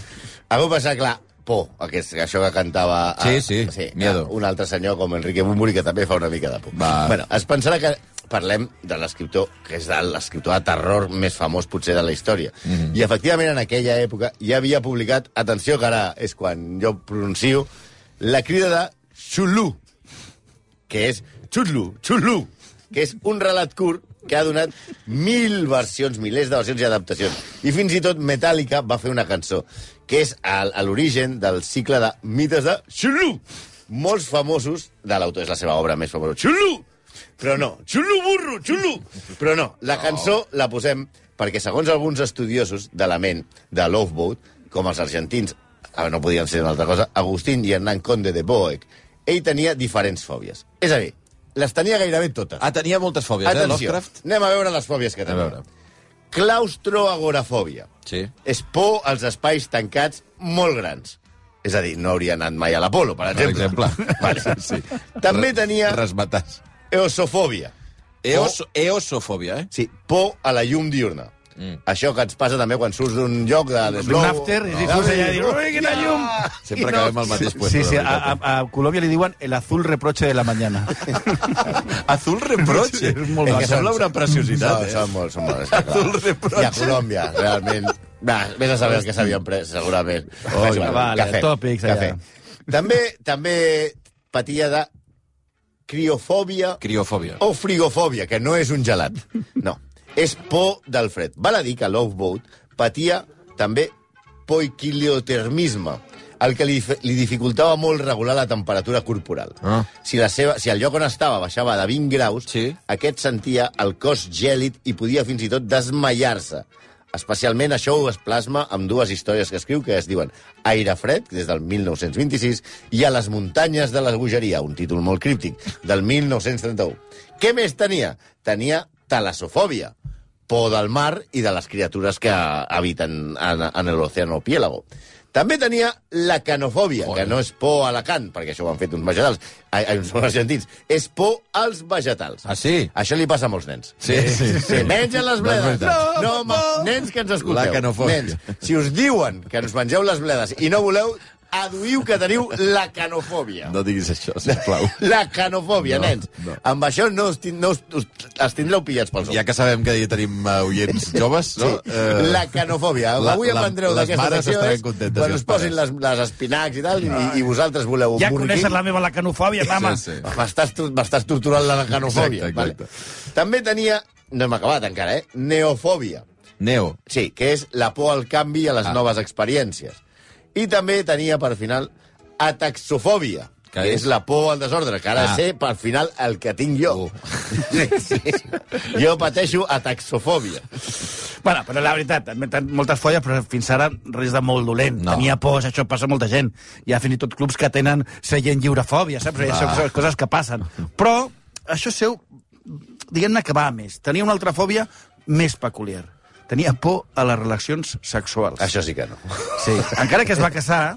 [SPEAKER 5] a mi passar, clar, por, aquest, això que cantava... eh,
[SPEAKER 4] Sí, sí, miedo.
[SPEAKER 5] Un altre senyor com Enrique Bumburi, que també fa una mica de por.
[SPEAKER 4] Va.
[SPEAKER 5] Bueno, es pensarà que parlem de l'escriptor, que és de l'escriptor de terror més famós potser de la història.
[SPEAKER 4] Mhm.
[SPEAKER 5] I efectivament en aquella època ja havia publicat, atenció que ara és quan jo pronuncio, la crida de Xulú, que és Xutlu, Xutlu, que és un relat curt que ha donat mil versions, milers de versions i adaptacions. I fins i tot Metallica va fer una cançó, que és al- a l'origen del cicle de mites de Xutlu. Molts famosos de l'autor, és la seva obra més famosa. Xutlu! Però no, Xutlu burro, Xutlu! Però no, la cançó la posem perquè, segons alguns estudiosos de la ment de Loveboat, com els argentins, ah, no podien ser una altra cosa, Agustín i Hernán Conde de Boeck, ell tenia diferents fòbies. És a dir, les tenia gairebé totes.
[SPEAKER 4] Ah, tenia moltes fòbies, eh,
[SPEAKER 5] Atenció,
[SPEAKER 4] Lovecraft?
[SPEAKER 5] anem a veure les fòbies que
[SPEAKER 4] A veure.
[SPEAKER 5] tenia. Claustroagorafòbia.
[SPEAKER 4] Sí.
[SPEAKER 5] És por als espais tancats molt grans. És a dir, no hauria anat mai a l'Apolo, per
[SPEAKER 4] Per
[SPEAKER 5] exemple.
[SPEAKER 4] exemple.
[SPEAKER 5] Vale.
[SPEAKER 4] Sí.
[SPEAKER 5] També
[SPEAKER 4] Re-
[SPEAKER 5] tenia
[SPEAKER 4] Resmatats.
[SPEAKER 5] eosofòbia. Oh.
[SPEAKER 4] Eos, eosofòbia, eh?
[SPEAKER 5] Sí, por a la llum diurna. Mm. Això que ens passa també quan surts d'un lloc de
[SPEAKER 7] D'un after, i si surts allà i dius, "Ui, quina llum!"
[SPEAKER 4] Sempre acabem al mateix puesto.
[SPEAKER 7] Sí, sí,
[SPEAKER 4] de
[SPEAKER 7] a,
[SPEAKER 4] veritat. eh.
[SPEAKER 7] a, a Colòmbia li diuen el azul reproche de la mañana.
[SPEAKER 4] Azul reproche.
[SPEAKER 7] Sí, és molt
[SPEAKER 4] Em
[SPEAKER 7] bacán.
[SPEAKER 4] sembla una preciositat,
[SPEAKER 5] no,
[SPEAKER 4] eh?
[SPEAKER 5] Són molt, són molt. és que clar.
[SPEAKER 4] Azul reproche.
[SPEAKER 5] I a Colòmbia, realment. Va, vés a saber el que s'havien pres, segurament. Oh,
[SPEAKER 7] vale, tòpics allà.
[SPEAKER 5] També, també patia de criofòbia
[SPEAKER 4] Criofòbia.
[SPEAKER 5] o frigofòbia, que no és un gelat. No, és por del fred. Val a dir que Loveboat patia també poiquiliotermisme, el que li, fe- li dificultava molt regular la temperatura corporal.
[SPEAKER 4] Ah.
[SPEAKER 5] Si, la seva, si el lloc on estava baixava de 20 graus,
[SPEAKER 4] Sí.
[SPEAKER 5] aquest sentia el cos gèlid i podia fins i tot desmaiar-se. Especialment això ho es plasma amb dues històries que escriu que es diuen Aire fred, des del 1926, i A les muntanyes de la bogeria, un títol molt críptic, del 1931. Què més tenia? Tenia talassofòbia, por del mar i de les criatures que habiten en, en l'oceano piélago. També tenia la canofòbia, que no és por a la can, perquè això ho han fet uns vegetals, ai, ai, uns argentins, és por als vegetals.
[SPEAKER 4] Ah, sí? Eh?
[SPEAKER 5] Això li passa a molts nens.
[SPEAKER 4] Sí, sí, sí.
[SPEAKER 5] Sí, mengen les bledes.
[SPEAKER 4] veritat.
[SPEAKER 5] No, no, ma... Nens que ens escolteu.
[SPEAKER 4] La canofòbia.
[SPEAKER 5] Nens, si us diuen que ens mengeu les bledes i no voleu, aduïu que teniu la canofòbia.
[SPEAKER 4] No diguis això, sisplau.
[SPEAKER 5] La canofòbia,
[SPEAKER 4] No,
[SPEAKER 5] nens.
[SPEAKER 4] no.
[SPEAKER 5] Amb això no us, tin- no us, us els tindreu pillats pels
[SPEAKER 4] Ja
[SPEAKER 5] ous.
[SPEAKER 4] que sabem que hi tenim eh, oients joves, no? Eh,
[SPEAKER 5] Sí, la canofòbia.
[SPEAKER 4] la-
[SPEAKER 5] Avui
[SPEAKER 4] la-
[SPEAKER 5] aprendreu
[SPEAKER 4] les
[SPEAKER 5] d'aquesta
[SPEAKER 4] mares
[SPEAKER 5] secció.
[SPEAKER 4] estaran
[SPEAKER 5] és
[SPEAKER 4] contentes, Ah,
[SPEAKER 5] Quan
[SPEAKER 4] i
[SPEAKER 5] us
[SPEAKER 4] els
[SPEAKER 5] posin
[SPEAKER 4] pares.
[SPEAKER 5] les, les espinacs i tal, i, i vosaltres voleu un
[SPEAKER 7] Ja
[SPEAKER 5] borriquí.
[SPEAKER 7] coneixes la meva lacanofòbia, mama.
[SPEAKER 4] Sí, sí.
[SPEAKER 5] M'estàs tor- m'estàs torturant la canofòbia.
[SPEAKER 4] Exacte, exacte.
[SPEAKER 5] Vale. També tenia... No hem acabat encara, eh? Neofòbia.
[SPEAKER 4] Neo.
[SPEAKER 5] Sí, que és la por al canvi i a les
[SPEAKER 4] Ah.
[SPEAKER 5] noves experiències. I també tenia, per final, ataxofòbia, que és... és la por al desordre, que ara ah. sé, per final, el que tinc jo. Uh. sí. Jo pateixo ataxofòbia.
[SPEAKER 7] Bueno, però la veritat, m'han moltes folles, però fins ara res de molt dolent.
[SPEAKER 4] No.
[SPEAKER 7] No. Tenia por, això passa a molta gent. Hi ha fins i tot clubs que tenen seient lliurefòbia, saps? Ah. Això són coses que passen. Però això seu, diguem-ne que va a més. Tenia una altra fòbia més peculiar. Tenia por a les relacions sexuals.
[SPEAKER 5] Això sí que no.
[SPEAKER 7] Sí. Encara que es va casar,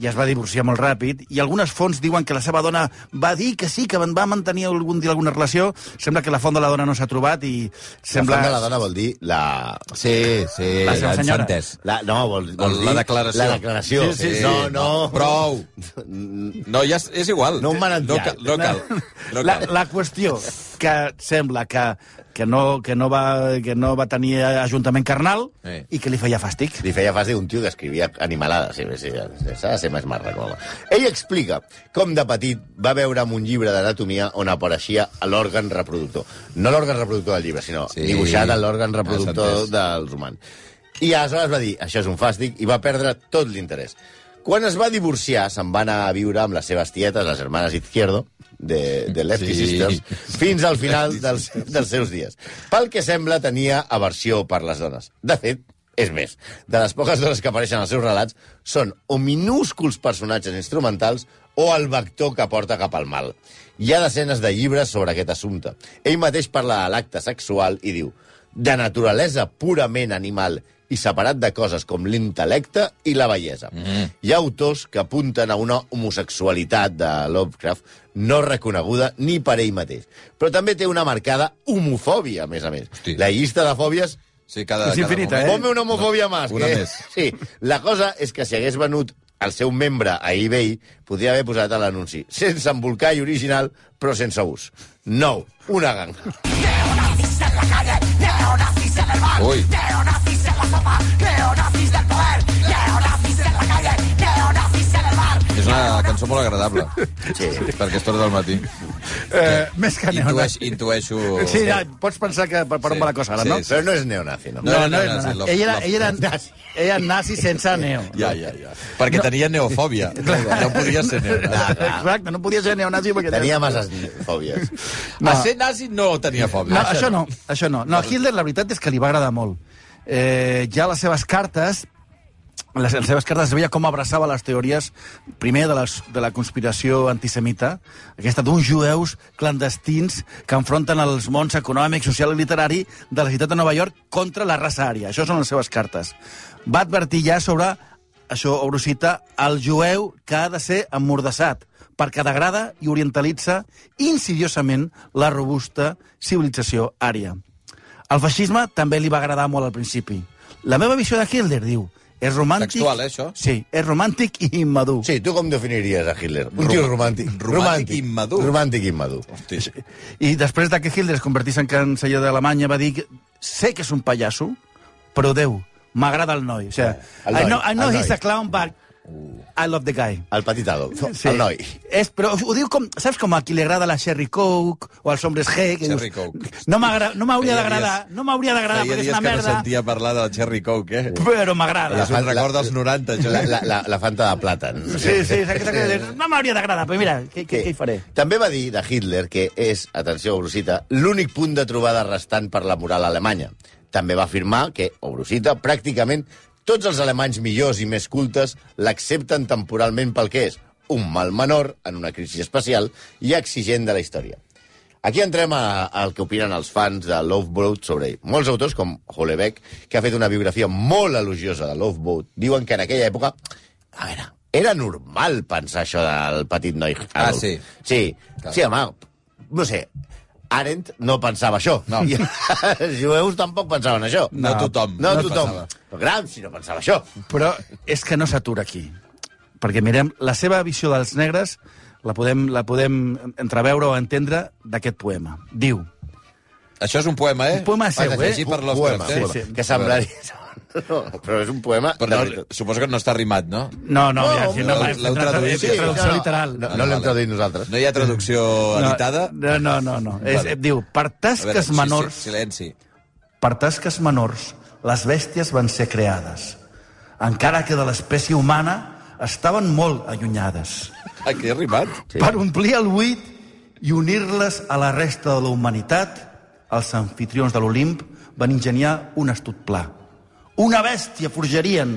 [SPEAKER 7] ja es va divorciar molt ràpid, i algunes fonts diuen que la seva dona va dir que sí, que en va mantenir algun dia alguna relació. Sembla que la font de la dona no s'ha trobat i sembla...
[SPEAKER 5] La font de la dona vol dir la...
[SPEAKER 4] Sí, sí,
[SPEAKER 7] La seva
[SPEAKER 4] ens
[SPEAKER 7] senyora.
[SPEAKER 4] ha entès.
[SPEAKER 5] La, no, vol,
[SPEAKER 4] La-
[SPEAKER 5] vol dir...
[SPEAKER 4] la declaració.
[SPEAKER 5] La declaració.
[SPEAKER 4] Sí, sí, sí.
[SPEAKER 5] No, no.
[SPEAKER 4] Prou. No, ja és, és igual.
[SPEAKER 5] No un
[SPEAKER 4] no
[SPEAKER 5] manantial.
[SPEAKER 4] cal, no cal. No
[SPEAKER 7] la,
[SPEAKER 4] cal.
[SPEAKER 7] la qüestió que sembla que, que, no, que, no va, que no va tenir eh, ajuntament carnal
[SPEAKER 4] Sí.
[SPEAKER 7] i que li feia fàstic.
[SPEAKER 5] Li feia fàcil un tio que escrivia animalades. Sí, sí, sí, S'ha de ser més marracola. Ell explica com de petit va veure en un llibre d'anatomia on apareixia l'òrgan reproductor. No l'òrgan reproductor del llibre, sinó
[SPEAKER 4] Sí.
[SPEAKER 5] sí. dibuixat en l'òrgan
[SPEAKER 4] Ah, s'ha
[SPEAKER 5] reproductor
[SPEAKER 4] entès.
[SPEAKER 5] dels humans. I aleshores va dir, això és un fàstic, i va perdre tot l'interès. Quan es va divorciar, se'n va anar a viure amb les seves tietes, les germanes Izquierdo, de, de Lefty
[SPEAKER 4] Sí.
[SPEAKER 5] Sisters, fins al final dels, dels seus dies. Pel que sembla, tenia aversió per les dones. De fet, és més, de les poques dones que apareixen als seus relats són o minúsculs personatges instrumentals o el vector que porta cap al mal. Hi ha desenes de llibres sobre aquest assumpte. Ell mateix parla de l'acte sexual i diu de naturalesa purament animal i separat de coses com l'intel·lecte i la bellesa. Mm. Hi ha autors que apunten a una homosexualitat de Lovecraft no reconeguda ni per ell mateix. Però també té una marcada homofòbia, a més a més.
[SPEAKER 4] Hosti.
[SPEAKER 5] La llista de fòbies
[SPEAKER 4] Sí, cada,
[SPEAKER 7] És infinita,
[SPEAKER 4] cada
[SPEAKER 7] eh?
[SPEAKER 4] moment.
[SPEAKER 5] Ponme una homofòbia
[SPEAKER 4] Una-
[SPEAKER 5] más.
[SPEAKER 4] una
[SPEAKER 5] que-
[SPEAKER 4] més.
[SPEAKER 5] Sí, la cosa és que si hagués venut el seu membre a eBay, podria haver posat a l'anunci. Sense embolcar i original, però sense ús. No, una ganga.
[SPEAKER 4] Ui. És una cançó molt agradable.
[SPEAKER 5] Sí.
[SPEAKER 4] Perquè és tot del matí.
[SPEAKER 7] Eh, més que neonat.
[SPEAKER 4] Intueix, intueixo...
[SPEAKER 7] Sí, ja, pots pensar que per, per
[SPEAKER 4] Sí.
[SPEAKER 7] on va la cosa ara,
[SPEAKER 4] Sí,
[SPEAKER 7] no?
[SPEAKER 4] sí.
[SPEAKER 5] Però no és neonazi, no?
[SPEAKER 4] No.
[SPEAKER 7] No, no,
[SPEAKER 4] era nazi,
[SPEAKER 7] no.
[SPEAKER 4] la-
[SPEAKER 7] Ell era,
[SPEAKER 4] la-
[SPEAKER 7] ell era, nazi, ell era nazi sense neo.
[SPEAKER 4] Ja, ja, ja. Perquè tenia neofòbia. No podia ser neonat.
[SPEAKER 7] Exacte, no podia ser neonazi perquè...
[SPEAKER 5] Tenia masses fòbies.
[SPEAKER 4] No. A ser nazi no tenia fòbia.
[SPEAKER 7] No, això no, això no. No, a Hitler la veritat és que li va agradar molt. Eh, ja les seves cartes les, les seves cartes es veia com abraçava les teories, primer de, les, de la conspiració antisemita, aquesta d'uns jueus clandestins que enfronten els mons econòmic, social i literari de la ciutat de Nova York contra la raça ària. Això són les seves cartes. Va advertir ja sobre, això obro cita, el jueu que ha de ser emmordassat perquè degrada i orientalitza insidiosament la robusta civilització ària. El feixisme també li va agradar molt al principi. La meva visió de Hitler, diu, és romàntic...
[SPEAKER 4] Textual, eh, això?
[SPEAKER 7] Sí, és romàntic i immadur.
[SPEAKER 5] Sí, tu com definiries a Hitler? Un tio romàntic.
[SPEAKER 4] romàntic immadur.
[SPEAKER 5] Romàntic immadur.
[SPEAKER 4] Hosti,
[SPEAKER 7] I després de que Hitler es convertís en canceller d'Alemanya, va dir que sé que és un pallasso, però Déu, m'agrada el noi. O sigui,
[SPEAKER 4] Eh,
[SPEAKER 5] El noi,
[SPEAKER 7] I know, I know
[SPEAKER 5] el
[SPEAKER 7] he's
[SPEAKER 5] noi.
[SPEAKER 7] a clown, but
[SPEAKER 4] Uh.
[SPEAKER 7] I love the guy.
[SPEAKER 5] El petit Adolf, sí. el noi.
[SPEAKER 7] És, però ho diu com... Saps com a qui li agrada la Sherry Coke o als hombres G? Que
[SPEAKER 4] Cherry
[SPEAKER 7] dius,
[SPEAKER 4] Coke.
[SPEAKER 7] No m'agra- no m'hauria
[SPEAKER 4] Feia
[SPEAKER 7] d'agradar,
[SPEAKER 4] dies-
[SPEAKER 7] no m'hauria d'agradar
[SPEAKER 4] Feia
[SPEAKER 7] perquè és
[SPEAKER 4] dies que
[SPEAKER 7] una
[SPEAKER 4] no
[SPEAKER 7] merda,
[SPEAKER 4] sentia parlar de la Cherry Coke, eh?
[SPEAKER 7] però m'agrada.
[SPEAKER 4] És un record dels 90, això.
[SPEAKER 5] La, la, la, la fanta de plàtan.
[SPEAKER 7] Sí, sí, és aquesta que dius, no m'hauria d'agradar, però mira, què, què, què hi faré?
[SPEAKER 5] També va dir de Hitler que és, atenció, Obrosita, l'únic punt de trobada restant per la moral alemanya. També va afirmar que, Obrosita, pràcticament tots els alemanys millors i més cultes l'accepten temporalment pel que és un mal menor en una crisi especial i exigent de la història. Aquí entrem a- al que opinen els fans de Loveboat sobre ell. Molts autors, com Holebeck, que ha fet una biografia molt elogiosa de Loveboat, diuen que en aquella època... A veure, era normal pensar això del petit noi.
[SPEAKER 4] Ah,
[SPEAKER 5] adult.
[SPEAKER 4] sí.
[SPEAKER 5] Sí,
[SPEAKER 4] Clar.
[SPEAKER 5] sí, home, no sé, Arendt no pensava això. No. I els jueus tampoc pensaven això.
[SPEAKER 4] No tothom.
[SPEAKER 5] No,
[SPEAKER 4] No
[SPEAKER 5] tothom.
[SPEAKER 4] pensava.
[SPEAKER 5] Però Gramsci no pensava això.
[SPEAKER 7] Però és que no s'atura aquí. Perquè mirem, la seva visió dels negres la podem, la podem entreveure o entendre d'aquest poema. Diu,
[SPEAKER 4] Això és un poema, eh?
[SPEAKER 7] Un poema seu,
[SPEAKER 4] Vaja,
[SPEAKER 7] eh?
[SPEAKER 4] llegit per
[SPEAKER 5] Un
[SPEAKER 4] Lovecraft,
[SPEAKER 5] poema,
[SPEAKER 4] eh?
[SPEAKER 5] sí, sí. Que semblaria... No, però és un poema...
[SPEAKER 4] Però
[SPEAKER 5] de
[SPEAKER 4] no,
[SPEAKER 5] veritat.
[SPEAKER 4] suposo que no està rimat, no?
[SPEAKER 7] no, no,
[SPEAKER 5] No,
[SPEAKER 7] ja,
[SPEAKER 5] home,
[SPEAKER 7] no,
[SPEAKER 4] l'heu-
[SPEAKER 7] no
[SPEAKER 4] l'heu traduït,
[SPEAKER 7] és
[SPEAKER 4] sí,
[SPEAKER 7] traducció
[SPEAKER 5] no, no.
[SPEAKER 7] literal.
[SPEAKER 5] No, no l'hem traduït nosaltres.
[SPEAKER 4] No hi ha traducció editada?
[SPEAKER 7] No, no, no. no. És,
[SPEAKER 4] Vale.
[SPEAKER 7] diu, per
[SPEAKER 4] A veure,
[SPEAKER 7] tasques
[SPEAKER 4] sí, sí,
[SPEAKER 7] menors...
[SPEAKER 4] Silenci.
[SPEAKER 7] Per tasques menors, les bèsties van ser creades, encara que de l'espècie humana estaven molt allunyades.
[SPEAKER 4] Aquí ha Ah, rimat.
[SPEAKER 7] sí. per omplir el buit i unir-les a la resta de la humanitat, els anfitrions de l'Olimp van ingeniar un astut pla. Una bèstia forgerien,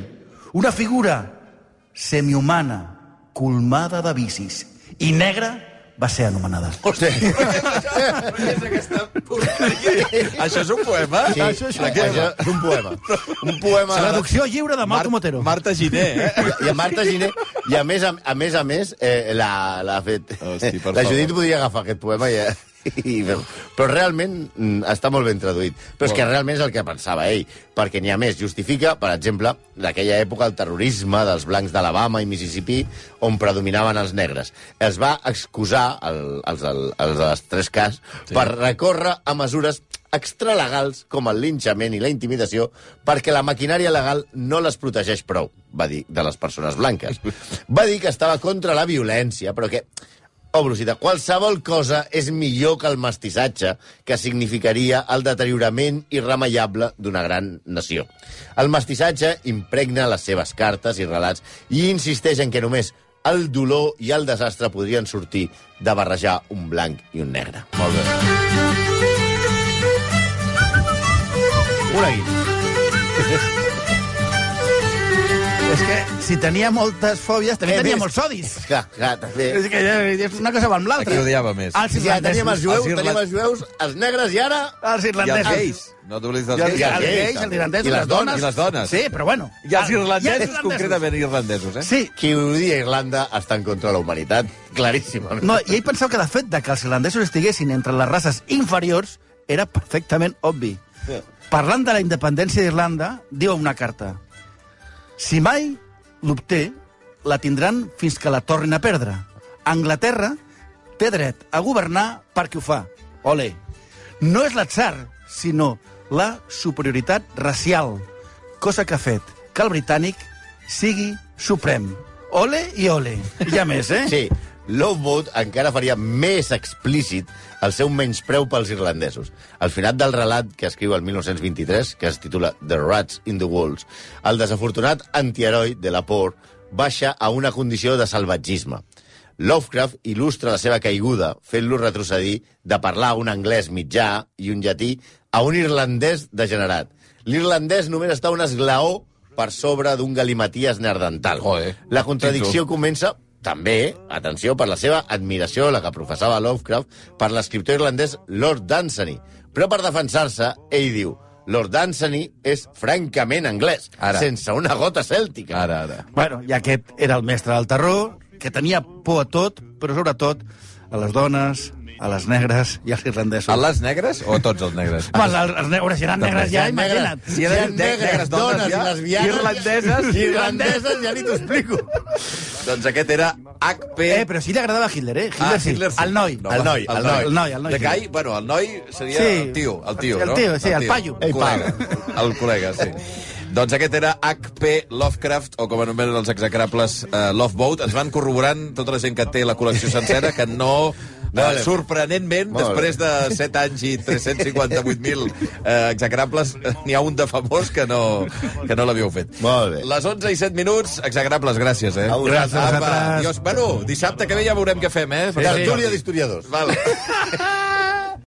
[SPEAKER 7] una figura semihumana, colmada de vicis, i negra va ser anomenada.
[SPEAKER 4] és aquesta porqueria? Això és un poema?
[SPEAKER 5] Sí, Ah, això és un poema. És un poema. Un poema...
[SPEAKER 7] Traducció lliure de Marco Motero.
[SPEAKER 4] Marta Giné, eh?
[SPEAKER 5] I a Marta Giné, i a més a, a més, a més eh, l'ha l'ha fet...
[SPEAKER 4] Hosti, per
[SPEAKER 5] la Judit
[SPEAKER 4] favor.
[SPEAKER 5] podia agafar aquest poema i... eh, i fer-ho. però realment mm, està molt ben traduït. Però és que realment és el que pensava ell, perquè n'hi ha més. Justifica, per exemple, d'aquella època el terrorisme dels blancs d'Alabama i Mississippi, on predominaven els negres. Es va excusar, el, els, el, els de les tres cas, sí. per recórrer a mesures extralegals com el linxament i la intimidació perquè la maquinària legal no les protegeix prou, va dir, de les persones blanques. Va dir que estava contra la violència, però que... Oh, Brusita, qualsevol cosa és millor que el mestissatge, que significaria el deteriorament irremeiable d'una gran nació. El mestissatge impregna les seves cartes i relats i insisteix en que només el dolor i el desastre podrien sortir de barrejar un blanc i un negre. Molt bé. Un aquí.
[SPEAKER 7] És que si tenia moltes fòbies, també
[SPEAKER 5] Eh,
[SPEAKER 7] tenia
[SPEAKER 5] més.
[SPEAKER 7] molts sodis.
[SPEAKER 5] Clar, clar, també...
[SPEAKER 7] És que eh, és una cosa va amb l'altra.
[SPEAKER 4] Aquí odiava més.
[SPEAKER 7] Els
[SPEAKER 5] Sí, ja teníem els
[SPEAKER 7] irlandesos.
[SPEAKER 5] jueus,
[SPEAKER 4] Els irla-
[SPEAKER 5] teníem els jueus, els negres i ara...
[SPEAKER 7] Ah, Els
[SPEAKER 4] I els
[SPEAKER 7] irlandesos.
[SPEAKER 4] gais. No t'oblidis dels
[SPEAKER 7] I els,
[SPEAKER 4] gais.
[SPEAKER 7] i els
[SPEAKER 5] gais,
[SPEAKER 7] gais, els
[SPEAKER 5] també.
[SPEAKER 7] irlandesos,
[SPEAKER 5] I les
[SPEAKER 7] les dones.
[SPEAKER 4] dones. I les dones.
[SPEAKER 7] Sí, però bueno.
[SPEAKER 4] I els
[SPEAKER 7] Ah, i els
[SPEAKER 4] irlandesos,
[SPEAKER 7] irlandesos.
[SPEAKER 4] concretament irlandesos, eh?
[SPEAKER 7] Sí.
[SPEAKER 5] Qui odia Irlanda està en contra de la humanitat, claríssimament.
[SPEAKER 7] No, i ell pensava que el fet de que els irlandesos estiguessin entre les races inferiors era perfectament obvi. Parlant de la independència d'Irlanda, diu una carta. Si mai l'obté, la tindran fins que la tornin a perdre. Anglaterra té dret a governar perquè ho fa. Ole. No és l'atzar, sinó la superioritat racial, cosa que ha fet que el britànic sigui suprem. Ole i ole. I ja més, eh?
[SPEAKER 5] Sí, Loveboat encara faria més explícit el seu menyspreu pels irlandesos. Al final del relat que escriu el 1923, que es titula The Rats in the Walls, el desafortunat antiheroi de la por baixa a una condició de salvatgisme. Lovecraft il·lustra la seva caiguda fent-lo retrocedir de parlar un anglès mitjà i un llatí a un irlandès degenerat. L'irlandès només està un esglaó per sobre d'un galimaties neardental.
[SPEAKER 4] Joder.
[SPEAKER 5] La contradicció comença també, atenció, per la seva admiració, la que professava Lovecraft, per l'escriptor irlandès Lord Dunsany. Però per defensar-se, ell diu Lord Dunsany és francament anglès,
[SPEAKER 4] Ara.
[SPEAKER 5] sense una gota cèltica.
[SPEAKER 4] Ara, ara.
[SPEAKER 7] Bueno, i aquest era el mestre del terror, que tenia por a tot, però sobretot a les dones, a les negres i als irlandesos.
[SPEAKER 4] A les negres o a tots els negres?
[SPEAKER 7] Bueno, els, els negres, si eren negres ja, imagina't.
[SPEAKER 5] Si eren negres, dones i lesbianes...
[SPEAKER 4] irlandeses,
[SPEAKER 5] Irlandeses, ja ni t'ho explico.
[SPEAKER 4] Doncs aquest era HP...
[SPEAKER 7] Eh, però sí li agradava a Hitler, eh? Hitler, sí. El noi.
[SPEAKER 4] Ah, No, va,
[SPEAKER 5] El noi, el noi.
[SPEAKER 7] El noi, el noi,
[SPEAKER 4] De
[SPEAKER 7] sí.
[SPEAKER 4] gai, bueno, el noi seria
[SPEAKER 7] Sí.
[SPEAKER 4] el tio, el tio,
[SPEAKER 7] El
[SPEAKER 4] no?
[SPEAKER 7] tio, sí, el paio.
[SPEAKER 4] El
[SPEAKER 5] El
[SPEAKER 4] col·lega, el col·lega, sí. Doncs aquest era H.P. Lovecraft, o com anomenen els execrables eh, Loveboat. Ens van corroborant tota la gent que té la col·lecció sencera que no... Eh,
[SPEAKER 5] Vale.
[SPEAKER 4] sorprenentment,
[SPEAKER 5] Molt bé.
[SPEAKER 4] després de 7 anys i 358.000 eh, execrables, n'hi ha un de famós que no, que no l'havíeu fet.
[SPEAKER 5] Molt bé.
[SPEAKER 4] Les 11 i 7 minuts, execrables, gràcies, eh?
[SPEAKER 5] A vosaltres.
[SPEAKER 4] Apa,
[SPEAKER 7] Gràcies a vosaltres.
[SPEAKER 4] adiós. Bueno, dissabte que ve ja veurem què fem, eh?
[SPEAKER 5] Tertúlia d'historiadors.
[SPEAKER 4] Val.